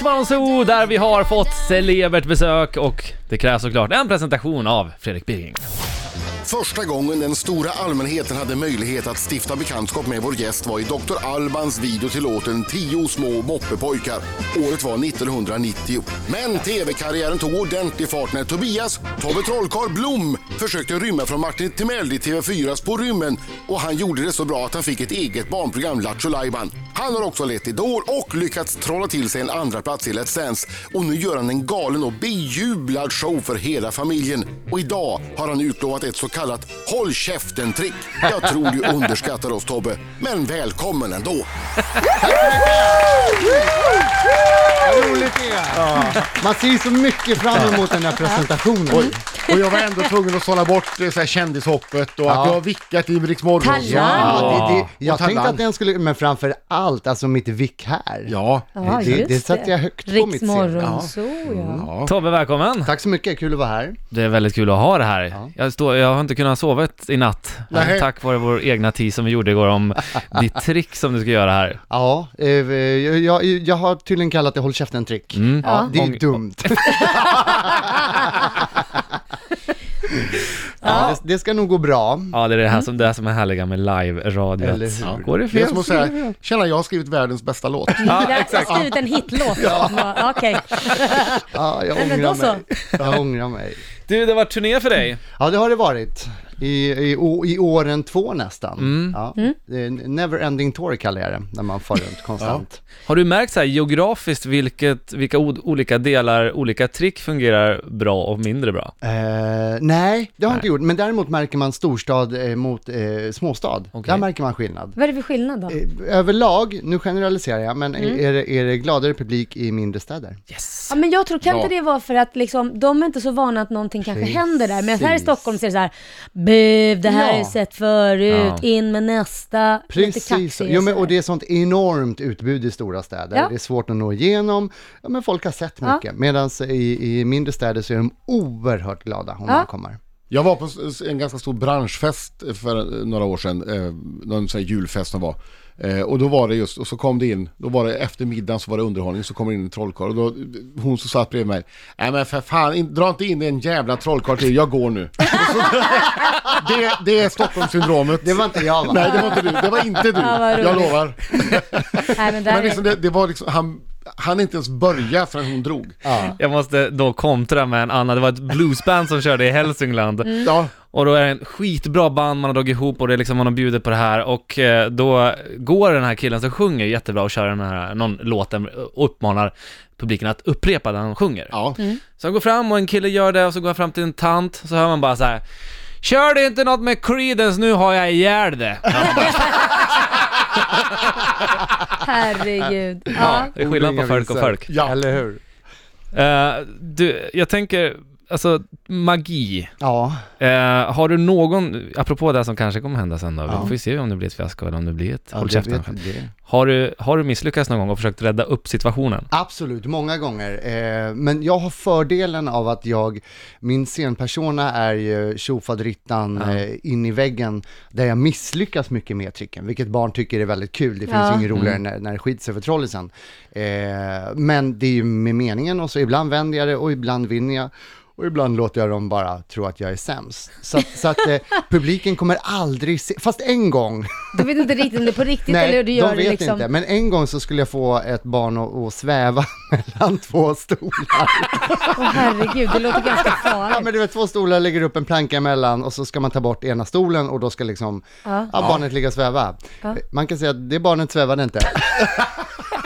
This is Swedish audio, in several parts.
Riksmorgonzoo där vi har fått celebert besök och det krävs såklart en presentation av Fredrik Birging. Första gången den stora allmänheten hade möjlighet att stifta bekantskap med vår gäst var i Dr. Albans video till låten Tio små moppepojkar. Året var 1990. Men TV-karriären tog ordentlig fart när Tobias Tobbe Trollkarl Blom försökte rymma från Martin Timell i TV4s På rymmen och han gjorde det så bra att han fick ett eget barnprogram, Lattjo Lajban. Han har också lett Idol och lyckats trolla till sig en andra plats i Let's Dance. Och nu gör han en galen och bejublad show för hela familjen. Och idag har han utlovat ett så kallat håll käften-trick. Jag tror du underskattar oss Tobbe, men välkommen ändå. Vad roligt det är! Man ser ju så mycket fram emot den här presentationen. Oj. Och jag var ändå tvungen att sålla bort eh, så här, kändishoppet och Ja. att jag har vickat i Riks Morgonzoo. Talang. Ja, det, det, jag Och tänkte talang. att den skulle, men framför allt, alltså mitt vick här. Ja. Ja, det, just det satte jag högt på mitt CV. Ja. Riksmorgonzoo, ja. Tobbe, välkommen! Tack så mycket, kul att vara här. Det är väldigt kul att ha det här. Jag, står, jag har inte kunnat sova i natt, Eh, Nej. tack vare vår egna tid som vi gjorde igår om ditt trick som du ska göra här. Ja, eh, jag, jag, jag har tydligen kallat det håll käften-trick. Mm. Ja, det är ju Och- dumt. ja, det, det ska nog gå bra. Ja, det är det här som, det här som är härliga med live-radio. Eller att- hur? Ja, Går det Det är fel? som att säga, tjena jag har skrivit världens bästa låt. ja exakt. Jag har skrivit en hitlåt. Ja. Okej. Ja, jag Nej, men ångrar då så. mig. Jag ångrar mig. Du, det var turné för dig. Ja, det har det varit. I, i, å- i åren två nästan. Ja. Mm. Neverending tour kallar jag det, när man far runt konstant. Har du märkt så här geografiskt vilket, vilka od, olika delar, olika trick fungerar bra och mindre bra? Eh, nej, det har jag inte gjort. Men däremot märker man storstad eh, mot eh, småstad. Okej. Där märker man skillnad. Vad är det för skillnad då? Eh, Överlag, nu generaliserar jag, men Mm. är, det, är det gladare publik i mindre städer? Yes! Ja, men jag tror, kan inte det vara för att liksom, de är inte så vana att någonting kanske Precis. händer där. Men här i Stockholm så är det så här, buv, det här har Ja. jag sett förut, Ja. in med nästa. Lite Precis, kaxig jo, men, sådär. och det är sånt enormt utbud i stora städer. Ja. Det är svårt att nå igenom, ja, men folk har sett Ja. mycket. Medan i, i mindre städer så är de oerhört glada om Ja. man kommer. Jag var på s- en ganska stor branschfest för några år sedan, eh, någon sån här julfest som var. Eh, och då var det just, och så kom det in, då var det efter middagen så var det underhållning, så kom det in en trollkarl och då, hon som satt bredvid mig, nej men för fan, in, dra inte in en jävla trollkarl till, jag går nu. Och så, det, det är Stockholmssyndromet. Det var inte jag va? Nej det var inte du, det var inte du, Ja, vad roligt. jag lovar. Nej, men där Men är- liksom det, det var liksom, han, han inte ens börja förrän hon drog. Jag måste då kontra med en annan, det var ett bluesband som körde i Hälsingland. Ja, Och då är det en skitbra band man har dragit ihop och det är liksom man har bjudit på det här och eh, då går den här killen som sjunger jättebra och kör den här, någon låt där och uppmanar publiken att upprepa den han sjunger. ja. Mm. Så han går fram och en kille gör det och så går han fram till en tant så hör man bara så här. Kör du inte något med Creedence nu har jag ihjäl det. Herregud. Ja. Det är skillnad på Inga folk och visor. folk. Ja. Eller hur? Eh, du, jag tänker, alltså magi. Ja, Eh, har du någon, apropå det här som kanske kommer hända sen då, vi får ju se om det blir ett fiasko eller om det blir ett ja håll det käften. vet vi. Har du, har du misslyckats någon gång och försökt rädda upp situationen? Absolut, många gånger. Eh, men jag har fördelen av att jag, min scenpersona är ju tjofaderittan eh, in i väggen, där jag misslyckas mycket med tricken, vilket barn tycker är väldigt kul. Det finns Ja. ju inget roligare Mm. när, när det skiter sig för trollisen. Eh, men det är ju med meningen och så ibland vänder jag det och ibland vinner jag. Och ibland låter jag dem bara tro att jag är sämst. Så, att- så att eh, publiken kommer aldrig se, fast en gång Du vet inte riktigt om det är på riktigt eller hur de du gör vet det liksom. inte. Men en gång så skulle jag få ett barn att, att sväva mellan två stolar. Åh herregud, det låter ganska farligt. Ja, men du vet, två stolar lägger upp en planka emellan och så ska man ta bort ena stolen och då ska liksom Ja. ja. barnet ligga och sväva. Man kan säga att det barnet svävade inte.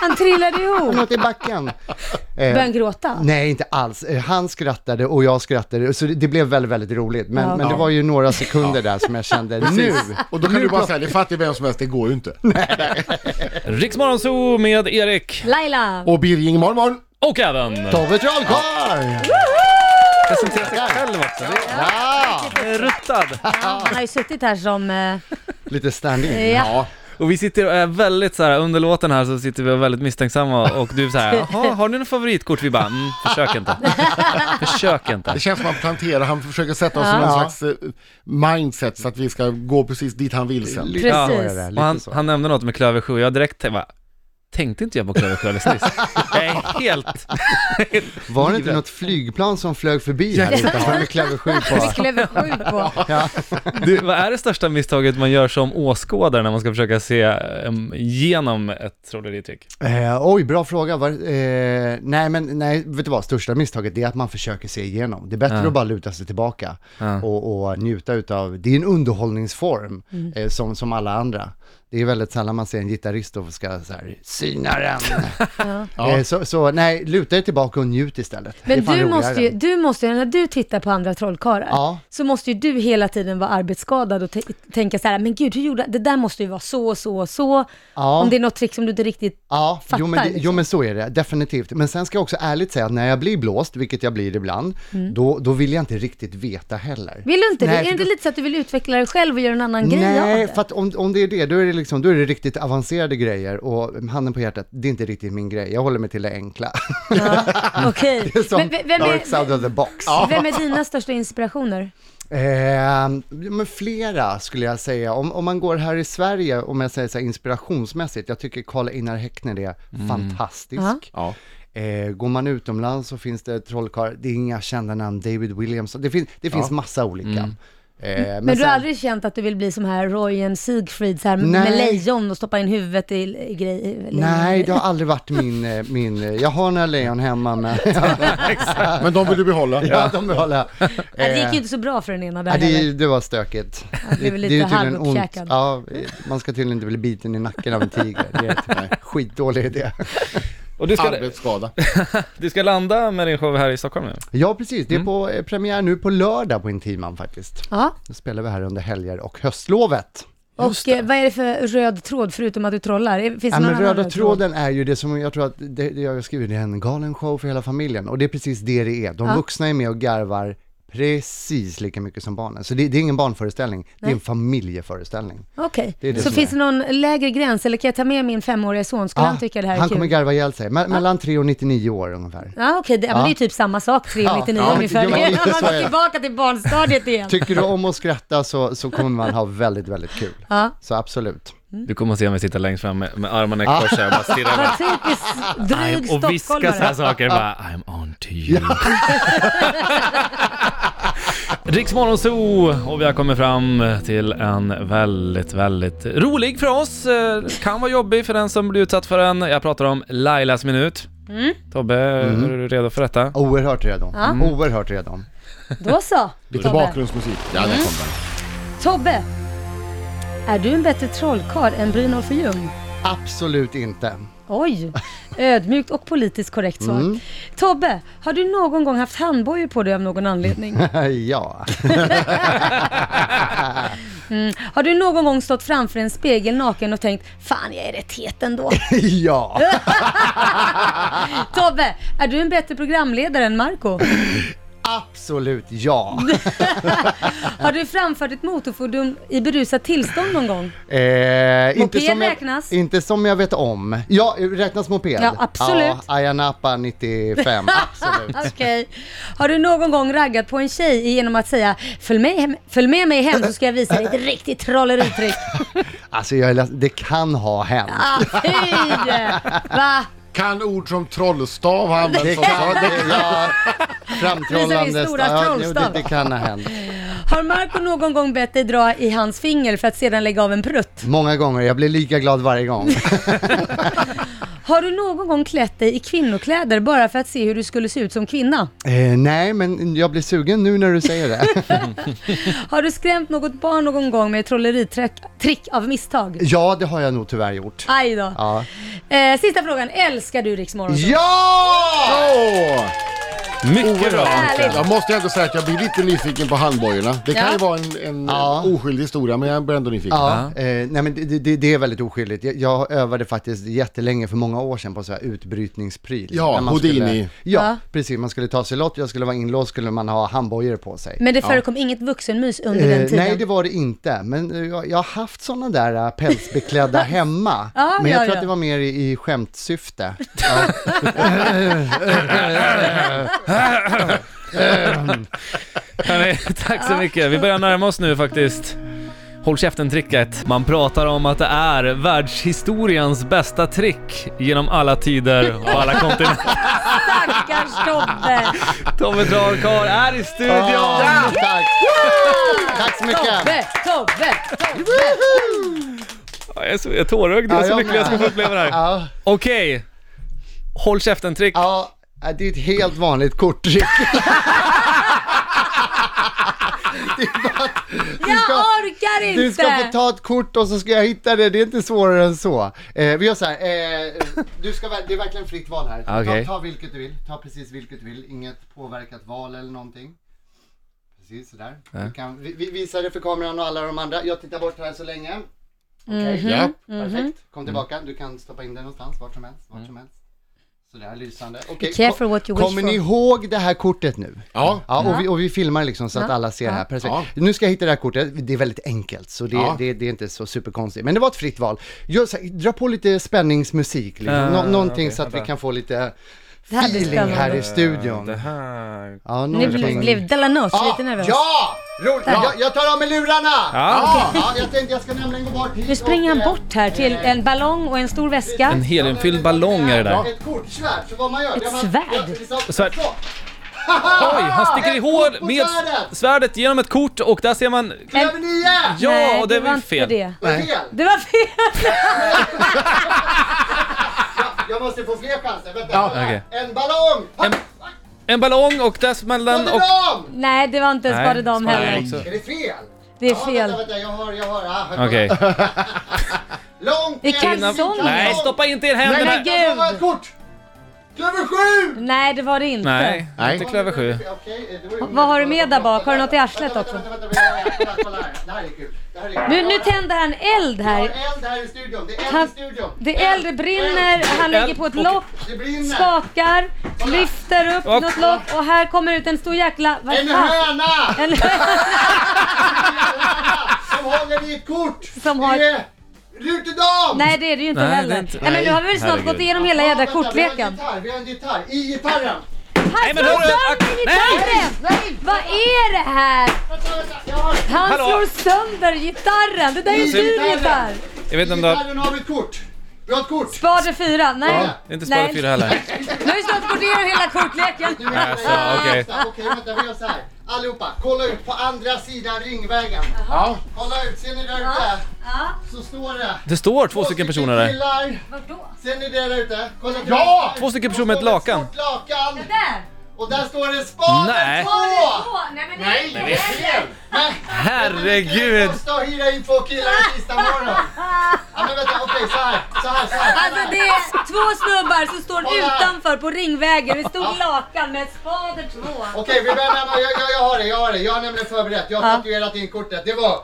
Han trillade ihop. Något i backen. Eh, Började han gråta? Nej, inte alls. Eh, Han skrattade och jag skrattade, så det, det blev väldigt, väldigt roligt. Men, Ja. men det var ju några sekunder där som jag kände nu. Och då kan du bara säga, det fattar vem som helst, det går ju inte. Riksmorgonzoo med Erik Laila! Och Birging imorgon morgon. och även... Tove Trollkarl! Presentera sig själv också. Ja! Det är Ruttad. Han har ju suttit här som... eh, Lite stand-in. Ja. Och vi sitter och är väldigt så här under låten här så sitter vi och är väldigt misstänksamma och du så här, jaha, har du något favoritkort? Vi bara, mm, försök inte. Försök inte. Det känns som att han planterar, han försöker sätta oss i någon Ja. slags eh, mindset så att vi ska gå precis dit han vill sen. Lite så är Precis. det, lite Och han, så. han nämnde något med klöver 7 jag direkt tänkte bara, tänkte inte jag på klöver alldeles nyss. Jag är helt... Var det inte Livet. något flygplan som flög förbi här utanför med Clever 7 Vi på? skulle över sju på. Ja. Du, vad är det största misstaget man gör som åskådare när man ska försöka se em, genom ett trolleritrick? Eh, oj, bra fråga. Var, eh, nej, men nej, vet du vad? Största misstaget det är att man försöker se igenom. Det är bättre Ja. att bara luta sig tillbaka Ja. och, och njuta utav. Det är en underhållningsform Mm. eh, som, som alla andra. Det är väldigt sällan man ser en gitarrist och ska så här, syna den. eh, så, så nej, luta er tillbaka och njut istället. Det är Men fan du roligare. måste, ju, du måste ju, när du tittar på andra trollkarlar, Ja. så måste ju du hela tiden vara arbetsskadad och t- tänka så här, men gud, hur gjorde Det där måste ju vara så, så, så. Ja. Om det är något trick som du inte riktigt... Ja, Fattar, jo men, det, jo liksom. men så är det, definitivt. Men sen ska jag också ärligt säga att när jag blir blåst, vilket jag blir ibland, då, då vill jag inte riktigt veta heller. Mm. Vill du inte Nej, det? Är det för inte då- lite så att du vill utveckla dig själv och göra en annan grej av Nej, det? för att om, om det är det, då är det, liksom, då är det riktigt avancerade grejer och handen på hjärtat, det är inte riktigt min grej. Jag håller mig till det enkla. Ja, Okej. Det är som Men v- vem, dark side är, of the box. vem är dina största inspirationer? Ehm, men flera skulle jag säga. Om, om man går här i Sverige, om jag säger så här inspirationsmässigt, jag tycker Karl-Einar Häckner är fantastisk. Ja. Ja. Eh, går man utomlands så finns det trollkarlar, det är inga kända namn, David Williams, det finns, det finns massa olika. Eh, Men, du har sen- aldrig känt att du vill bli som här Roy and Siegfried, så här Nej. med lejon och stoppa in huvudet i, i grejer? Nej, det har aldrig varit min, eh, min eh, jag har några lejon hemma men, Men de vill du behålla. ja, de behåller jag. Ja, det gick ju Eh, inte så bra för den ena där Ja, heller. det, det var stökigt. Jag blev det lite är ju tydligen ont. halvuppkäkad. Ja, eh, man ska tydligen inte bli biten i nacken av en tiger. Det är en skitdålig idé. Och du ska, Arbetsskada. du ska landa med din show här i Stockholm nu? Ja, precis. Mm. Det är på eh, premiär nu på lördag på Intiman faktiskt. Ja. Då spelar vi här under helger och höstlovet. Och eh, vad är det för röd tråd förutom att du trollar? Är- Finns det Ja, någon men annan röda tråden är ju det som jag tror att, det, det jag skriver, det är en galen show för hela familjen. Och det är precis det det är. De Ja. vuxna är med och garvar precis lika mycket som barnen. Så det, det är ingen barnföreställning, det är en familjeföreställning. Okej, Det är det så som finns är. Ah, det någon lägre gräns eller kan jag ta med min femåriga son? Skulle han tycka det här är han kul? kommer garva ihjäl sig, Me- mellan 3 och 99 år ungefär. Ja okej, det, ja. men det är ju typ samma sak, 399 Ah. Ja, ja, ungefär. jo, men lite Man så är går det. tillbaka till barnstadiet igen. Tycker du om att skratta så, så kommer man ha väldigt, väldigt kul. Ja. Så absolut. Du kommer att se mig sitta längst fram med, med armarna i kors här och bara stirra Vad bara, typiskt dryg och viska så här stockholmare. saker bara I'm on to you. Riks Morgonzoo och vi har kommit fram till en väldigt, väldigt rolig för oss. Eh, Kan vara jobbig för den som blir utsatt för den. Jag pratar om Lailas minut. Tobbe, är du redo för detta? Oerhört redo. Mm. Oerhört redo. Då så, Lite Tobbe. Mm. bakgrundsmusik. Ja, där kom den. Tobbe, är du en bättre trollkarl än Brynolf och Ljung? Absolut inte. Oj, ödmjukt och politiskt korrekt svar. Mm. Tobbe, har du någon gång haft handbojor på dig av någon anledning? ja. Har du någon gång stått framför en spegel naken och tänkt Fan, jag är rätt het ändå. ja. Tobbe, är du en bättre programledare än Marco? Absolut ja. Har du framfört ett motorfordon i berusat tillstånd någon gång? Eh, inte Moped som jag, räknas? Inte som jag vet om. Ja, räknas moped? Ja, absolut. Ja, Ayanapa 95, absolut. Okej. Har du någon gång raggat på en tjej genom att säga Följ med, hem, följ med mig hem så ska jag visa dig ett riktigt trolleritrick? Alltså jag är ledsen, det kan ha hänt. Ah, fy! Va? Kan ord som trollstav har Det använts som kan, det, ja, Visar framtrollande din stora ja, jo, det, trollstav. det kan ha hänt. Har Marco någon gång bett dig dra i hans finger för att sedan lägga av en prutt? Många gånger, jag blir lika glad varje gång. Har du någon gång klätt dig i kvinnokläder bara för att se hur du skulle se ut som kvinna? Eh, nej, men jag blir sugen nu när du säger det. Har du skrämt något barn någon gång med ett trolleritrick trick av misstag? Ja, det har jag nog tyvärr gjort. Aj då. Ja! Eh, sista frågan, älskar du Rix Morgon? ja! Åh! Mycket bra! Härligt! Jag måste ändå säga att jag blir lite nyfiken på handbojorna. Det kan Ja. ju vara en, en Ja. oskyldig historia, men jag blir ändå nyfiken. Eh, nej men det, det, det är väldigt oskyldigt. Jag, jag övade faktiskt jättelänge för många år sedan på så här utbrytningspryl. Ja, När man Houdini. Skulle, ja, Ja. precis. Man skulle ta sig lott, jag skulle vara inlåst, skulle man ha handbojor på sig. Men det förekom inget vuxenmys under den Eh, tiden? nej, det var det inte. Men eh, jag, jag har haft sådana där eh, pälsbeklädda hemma. Ja, men jag ja, tror ja. att det var mer i, i skämtsyfte. Hörni, tack så mycket. Vi börjar närma oss nu faktiskt Håll käften-tricket. Man pratar om att det är världshistoriens bästa trick genom alla tider och alla kontinenter. Stackars Tobbe! Tommy Trollkarl är i studion! Ja, tack. tack så mycket. Tobbe, Tobbe, Tobbe! Ja, Jag är, så, jag är tårögd, jag är Ja, så jag lycklig jag ska med. få uppleva det här. Ja, Okej, håll käften-trick. ja, äh, det är ett helt vanligt korttrick. Det är bara att du ska- Jag orkar inte! Du ska få ta ett kort och så ska jag hitta det, det är inte svårare än så. Eh, vi gör så här, eh, du ska, väl- det är verkligen fritt val här. Okej. Ta, ta vilket du vill, ta precis vilket du vill, inget påverkat val eller någonting. Precis sådär. Du kan, vi, vi visar det för kameran och alla de andra, jag tittar bort här så länge. Okej, Mhm, ja, perfekt. Kom tillbaka, du kan stoppa in den någonstans, vart som helst, vart som helst. Sådär lysande. Okej, Be careful what you wish Kommer ni for. ihåg det här kortet nu? Ja. Ja, och vi, och vi filmar liksom så att alla ser det här. Perfekt. Nu ska jag hitta det här kortet. Det är väldigt enkelt, så det, Ja. det, det är inte så superkonstigt. Men det var ett fritt val. Gör så här, dra på lite spänningsmusik, liksom. Ah, Nå- någonting okej, så att vi vänta. kan få lite Det här blir feeling spännande. här i studion. Det här... Ja, Nu blev, blev Delanos Ja, lite nervös. Ah, Ja! Roligt! Jag, jag tar av mig lurarna! Ja. ja, jag tänkte jag ska nämligen gå bort hit Nu springer han och, eh, bort här till en ballong och en stor En väska. heliumfylld ballong är det där. Ett kortsvärd, så vad man gör. Ett det är man- svärd? Så- Svärd. så. Oj, han sticker i Ett hål kort med på svärdet. svärdet genom ett kort och där ser man... Över nio! Ja, Nej, och det är var väl inte fel. Det. Vad är fel? det var fel! Jag måste få fler chanser. Vänta, okej. en ballong! En- En ballong och där smäller den och... Badedam! Nej, det var inte Nej, ens dam smäller heller. också. Är det fel? Det är Ja, fel. Vänta, vänta, jag har, jag har. Ah, här Okej. kommer- Långt I ner. kalsonger. Nej, stoppa inte er händer Nej, där! gud. Jag har ett kort! Klöver sju! Nej, det var det inte. Nej, Nej. inte klöver sju. Okej, det var ju- Vad har du med där bak? Har du något i arslet Vänta, också? Vänta, vänta, vänta. Kolla, kolla här. Det här är kul. Det här är kul. Nu, nu tände han eld Jag har här. eld här i studion. Det är eld Han- i studion. Det är eld, det brinner, han ligger på ett lock, Det brinner. skakar, lyfter upp Och- något lock och här kommer ut en stor jäkla... Vad En fan? höna! En Som håller i ett kort! Som har- Det är Rutedam! Nej det är det ju inte Nej, det är heller. inte- Nej, men nu har vi väl snart Herregud. gått igenom hela jädra Ja, vänta, kortleken. Vi har en gitarr, vi har en gitarr. I gitarren! Nej, Han men slår hörru, sönder ak- gitarren! Vad är det här? Vänta, vänta, jag har... Han Hallå? Alltså, slår sönder gitarren! Det där är ju en dyr Gitarren. gitarr! Jag vet inte I om du har... gitarren har vi ett kort. Vi har ett kort. Spade fyra? Nej. Det är inte spade Nej. fyra heller. Nu har vi snart gått igenom hela Du kortleken. vet, Alltså, eh, okej. vänta, Okej, vänta, vi gör så här. Allihopa, kolla ut på andra sidan ringvägen. Ja. Kolla ut, ser ni där ute? Så står det. Det står två stycken personer där. killar. Vadå? Ser ni det där ute? Kolla till Ja! vänster. Två stycken Då personer med står ett det lakan. stort lakan. Där! Och där står det spaden Nej. två! Nej men Nej, det är fel! Men- Herregud! Det kostar att hyra in två killar i tisdag morgon. Ja, men vänta, okej, så här, så här, så här. Alltså det är två snubbar som står Kolla här. utanför på Ringvägen med ett stort lakan med spader två. Okej, vi börjar närma jag, jag, jag har det, jag har det. Jag har nämligen förberett. Jag har Ja. tatuerat in kortet. Det var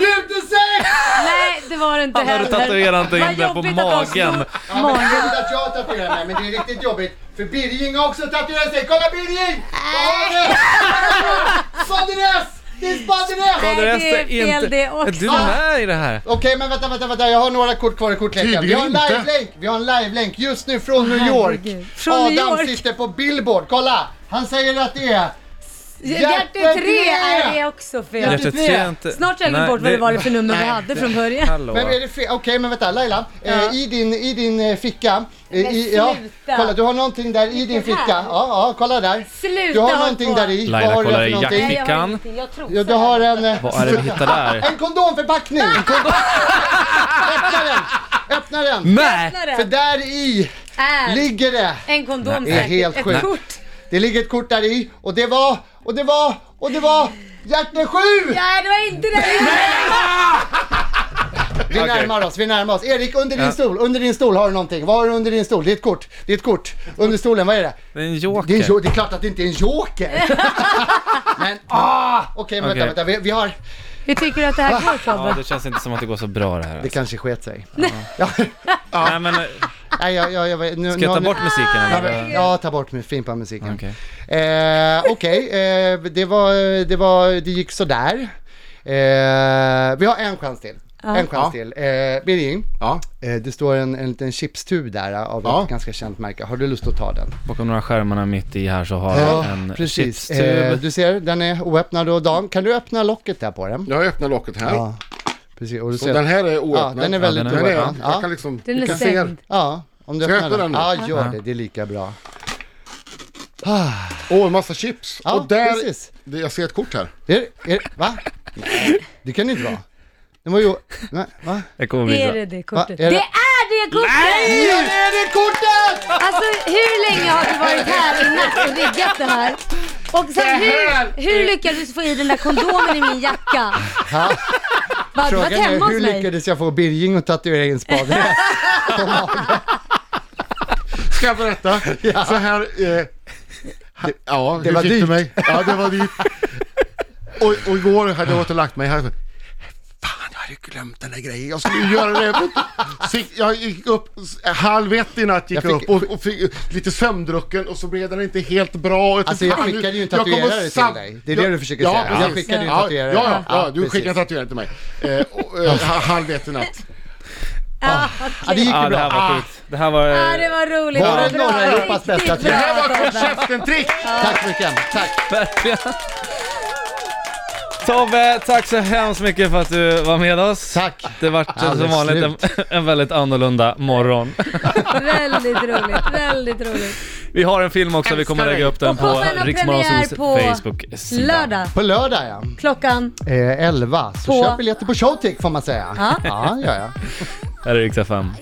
rutesex! Nej det var det inte Han hade heller. tatuerat någonting Vad där på jobbigt att de magen. snor Ja, men det magen. är inte att jag tatuerar mig, men det är riktigt jobbigt. För Birging har också tatuerat sig. Kolla Birging! Vad har du? Spadines! Det är Ja, spadines! Nej, det är resten fel det också. Är du med i det här? Okej, men vänta, vänta, vänta. Jag har några kort kvar i kortleken. Vi Tydligen har en inte. livelänk. Vi har en livelänk just nu från New York. Herregud. Från Adam New York. sitter på Billboard. Kolla! Han säger att det är... Hjärte tre är det också fel. Hjärtat ser inte... Snart har jag glömt Nej, bort vad det var det för nummer vi hade från början. Hallå. Men är det fel? Okej, men vänta Laila. Ja. Eh, I din, i din eh, ficka. Eh, Men i, ja. sluta. Kolla, du har någonting där i din Vilken ficka. här? Ja, ja, kolla där. Sluta Du har håll någonting på. där i. Laila Vad har du kollar där för i någonting? Nej, jag har Fickan. ingenting. Jag tror Ja, så du har här. en... eh, Vad är det du hittar där? En kondomförpackning! Öppna den! Öppna den! Nej! Öppna För den. där i Är ligger det. En kondom Det är helt säkert. sjukt. Ett kort. Det ligger ett kort där i och det var, och det var, och det var Hjärtne 7! Nej det var inte det. Vi närmar oss, vi närmar oss. Erik, under din Ja. stol, under din stol har du någonting. Vad har du under din stol? Det är ett kort, det är ett kort. Under stolen, vad är det? Det är en Det är, en jo- joker. det är klart att det inte är en joker! men, ah! Okej, men Okej. vänta, vänta, vi, vi har... Hur tycker du att det här går Ja, Tobbe? det känns inte som att det går så bra det här. Det Alltså. kanske sket sig. Nej men, eh, Nej, jag, jag, jag, nu, ska jag ta bort musiken Ja, eller? men- ja, ta bort mig, fimpa musiken. Okej. Eh, Okej, eh, det, var, det, var, det gick sådär. Eh, vi har en chans till. En chans Ja. till. Eh, Birging, Ja. eh, det står en, en liten chipstub där eh, av Ja. ett ganska känt märke. Har du lust att ta den? Bakom några skärmarna mitt i här så har jag en Eh, chipstub. du ser, den är oöppnad och Dan, kan du öppna locket där på den? Jag öppnar locket här. Ja. Precis, och du Så ser, den här är ja, oöppnad. den är väldigt den är Den är, oöppnad. jag kan Ja, liksom, Den du är kan se- stängd. ja, om du Ska jag öppnar öppna den. Ja, den gör det. Det är lika bra. Åh, en massa chips! Ja, och där, precis. det, jag ser ett kort här. Är, är, va? Nej, Det kan det inte vara. Den var ju... Nej, va? Jag kommer Är visa. det det kortet? Va, är det... det- är det kortet! Nu är det kortet! Alltså hur länge har du varit här i natt och riggat det här? Och sen hur, hur lyckades du få i den där kondomen i min jacka? Ja. Bara, du har Frågan varit hemma är, hur hos mig. lyckades jag få Birging att tatuera in spaden? Ska jag berätta? Så här... Eh, ha- ja, det hur var gick dyrt. mig? Ja, det var dyrt. Och, och igår hade jag återlagt mig här. Fan, jag hade ju glömt den där grejen. Jag skulle ju göra det. Så gick- jag gick upp halv ett i natt gick Jag jag fick- upp och, och fick lite sömndrucken och så blev den inte helt bra. Och Alltså, jag fan, nu- skickade ju en jag kommer tatuerare till sabb- dig. Det är det jag- du försöker ja, säga. Jag precis. skickade ju en Ja, tatuerare. Ja, ja, ja, Ja, du skickade en precis. tatuerare till mig. Eh, och, eh, ha- halv ett i natt. Ja, det gick Ja, ju det här bra. var sjukt. Ah. Det här var... eh, Ja, det var roligt. Var Bra, det norra Europas riktigt bästa bra, trick? Det här var Tobbe. ett käften-trick! Ah, Tack så mycket. Tack. Verkligen. Tobbe, tack så hemskt mycket för att du var med oss. Tack. Det vart som Alldeles vanligt en, en väldigt annorlunda morgon. Väldigt roligt, väldigt roligt. Vi har en film också, vi kommer lägga upp den Och på kommer ha Riksmorgonsols premiär på Facebook-sida. Lördag På lördag ja. klockan. Eh, 11. Så På- köp biljetter på Showtick får man säga. Ja. ja, ja. ja. Här är Rix FM.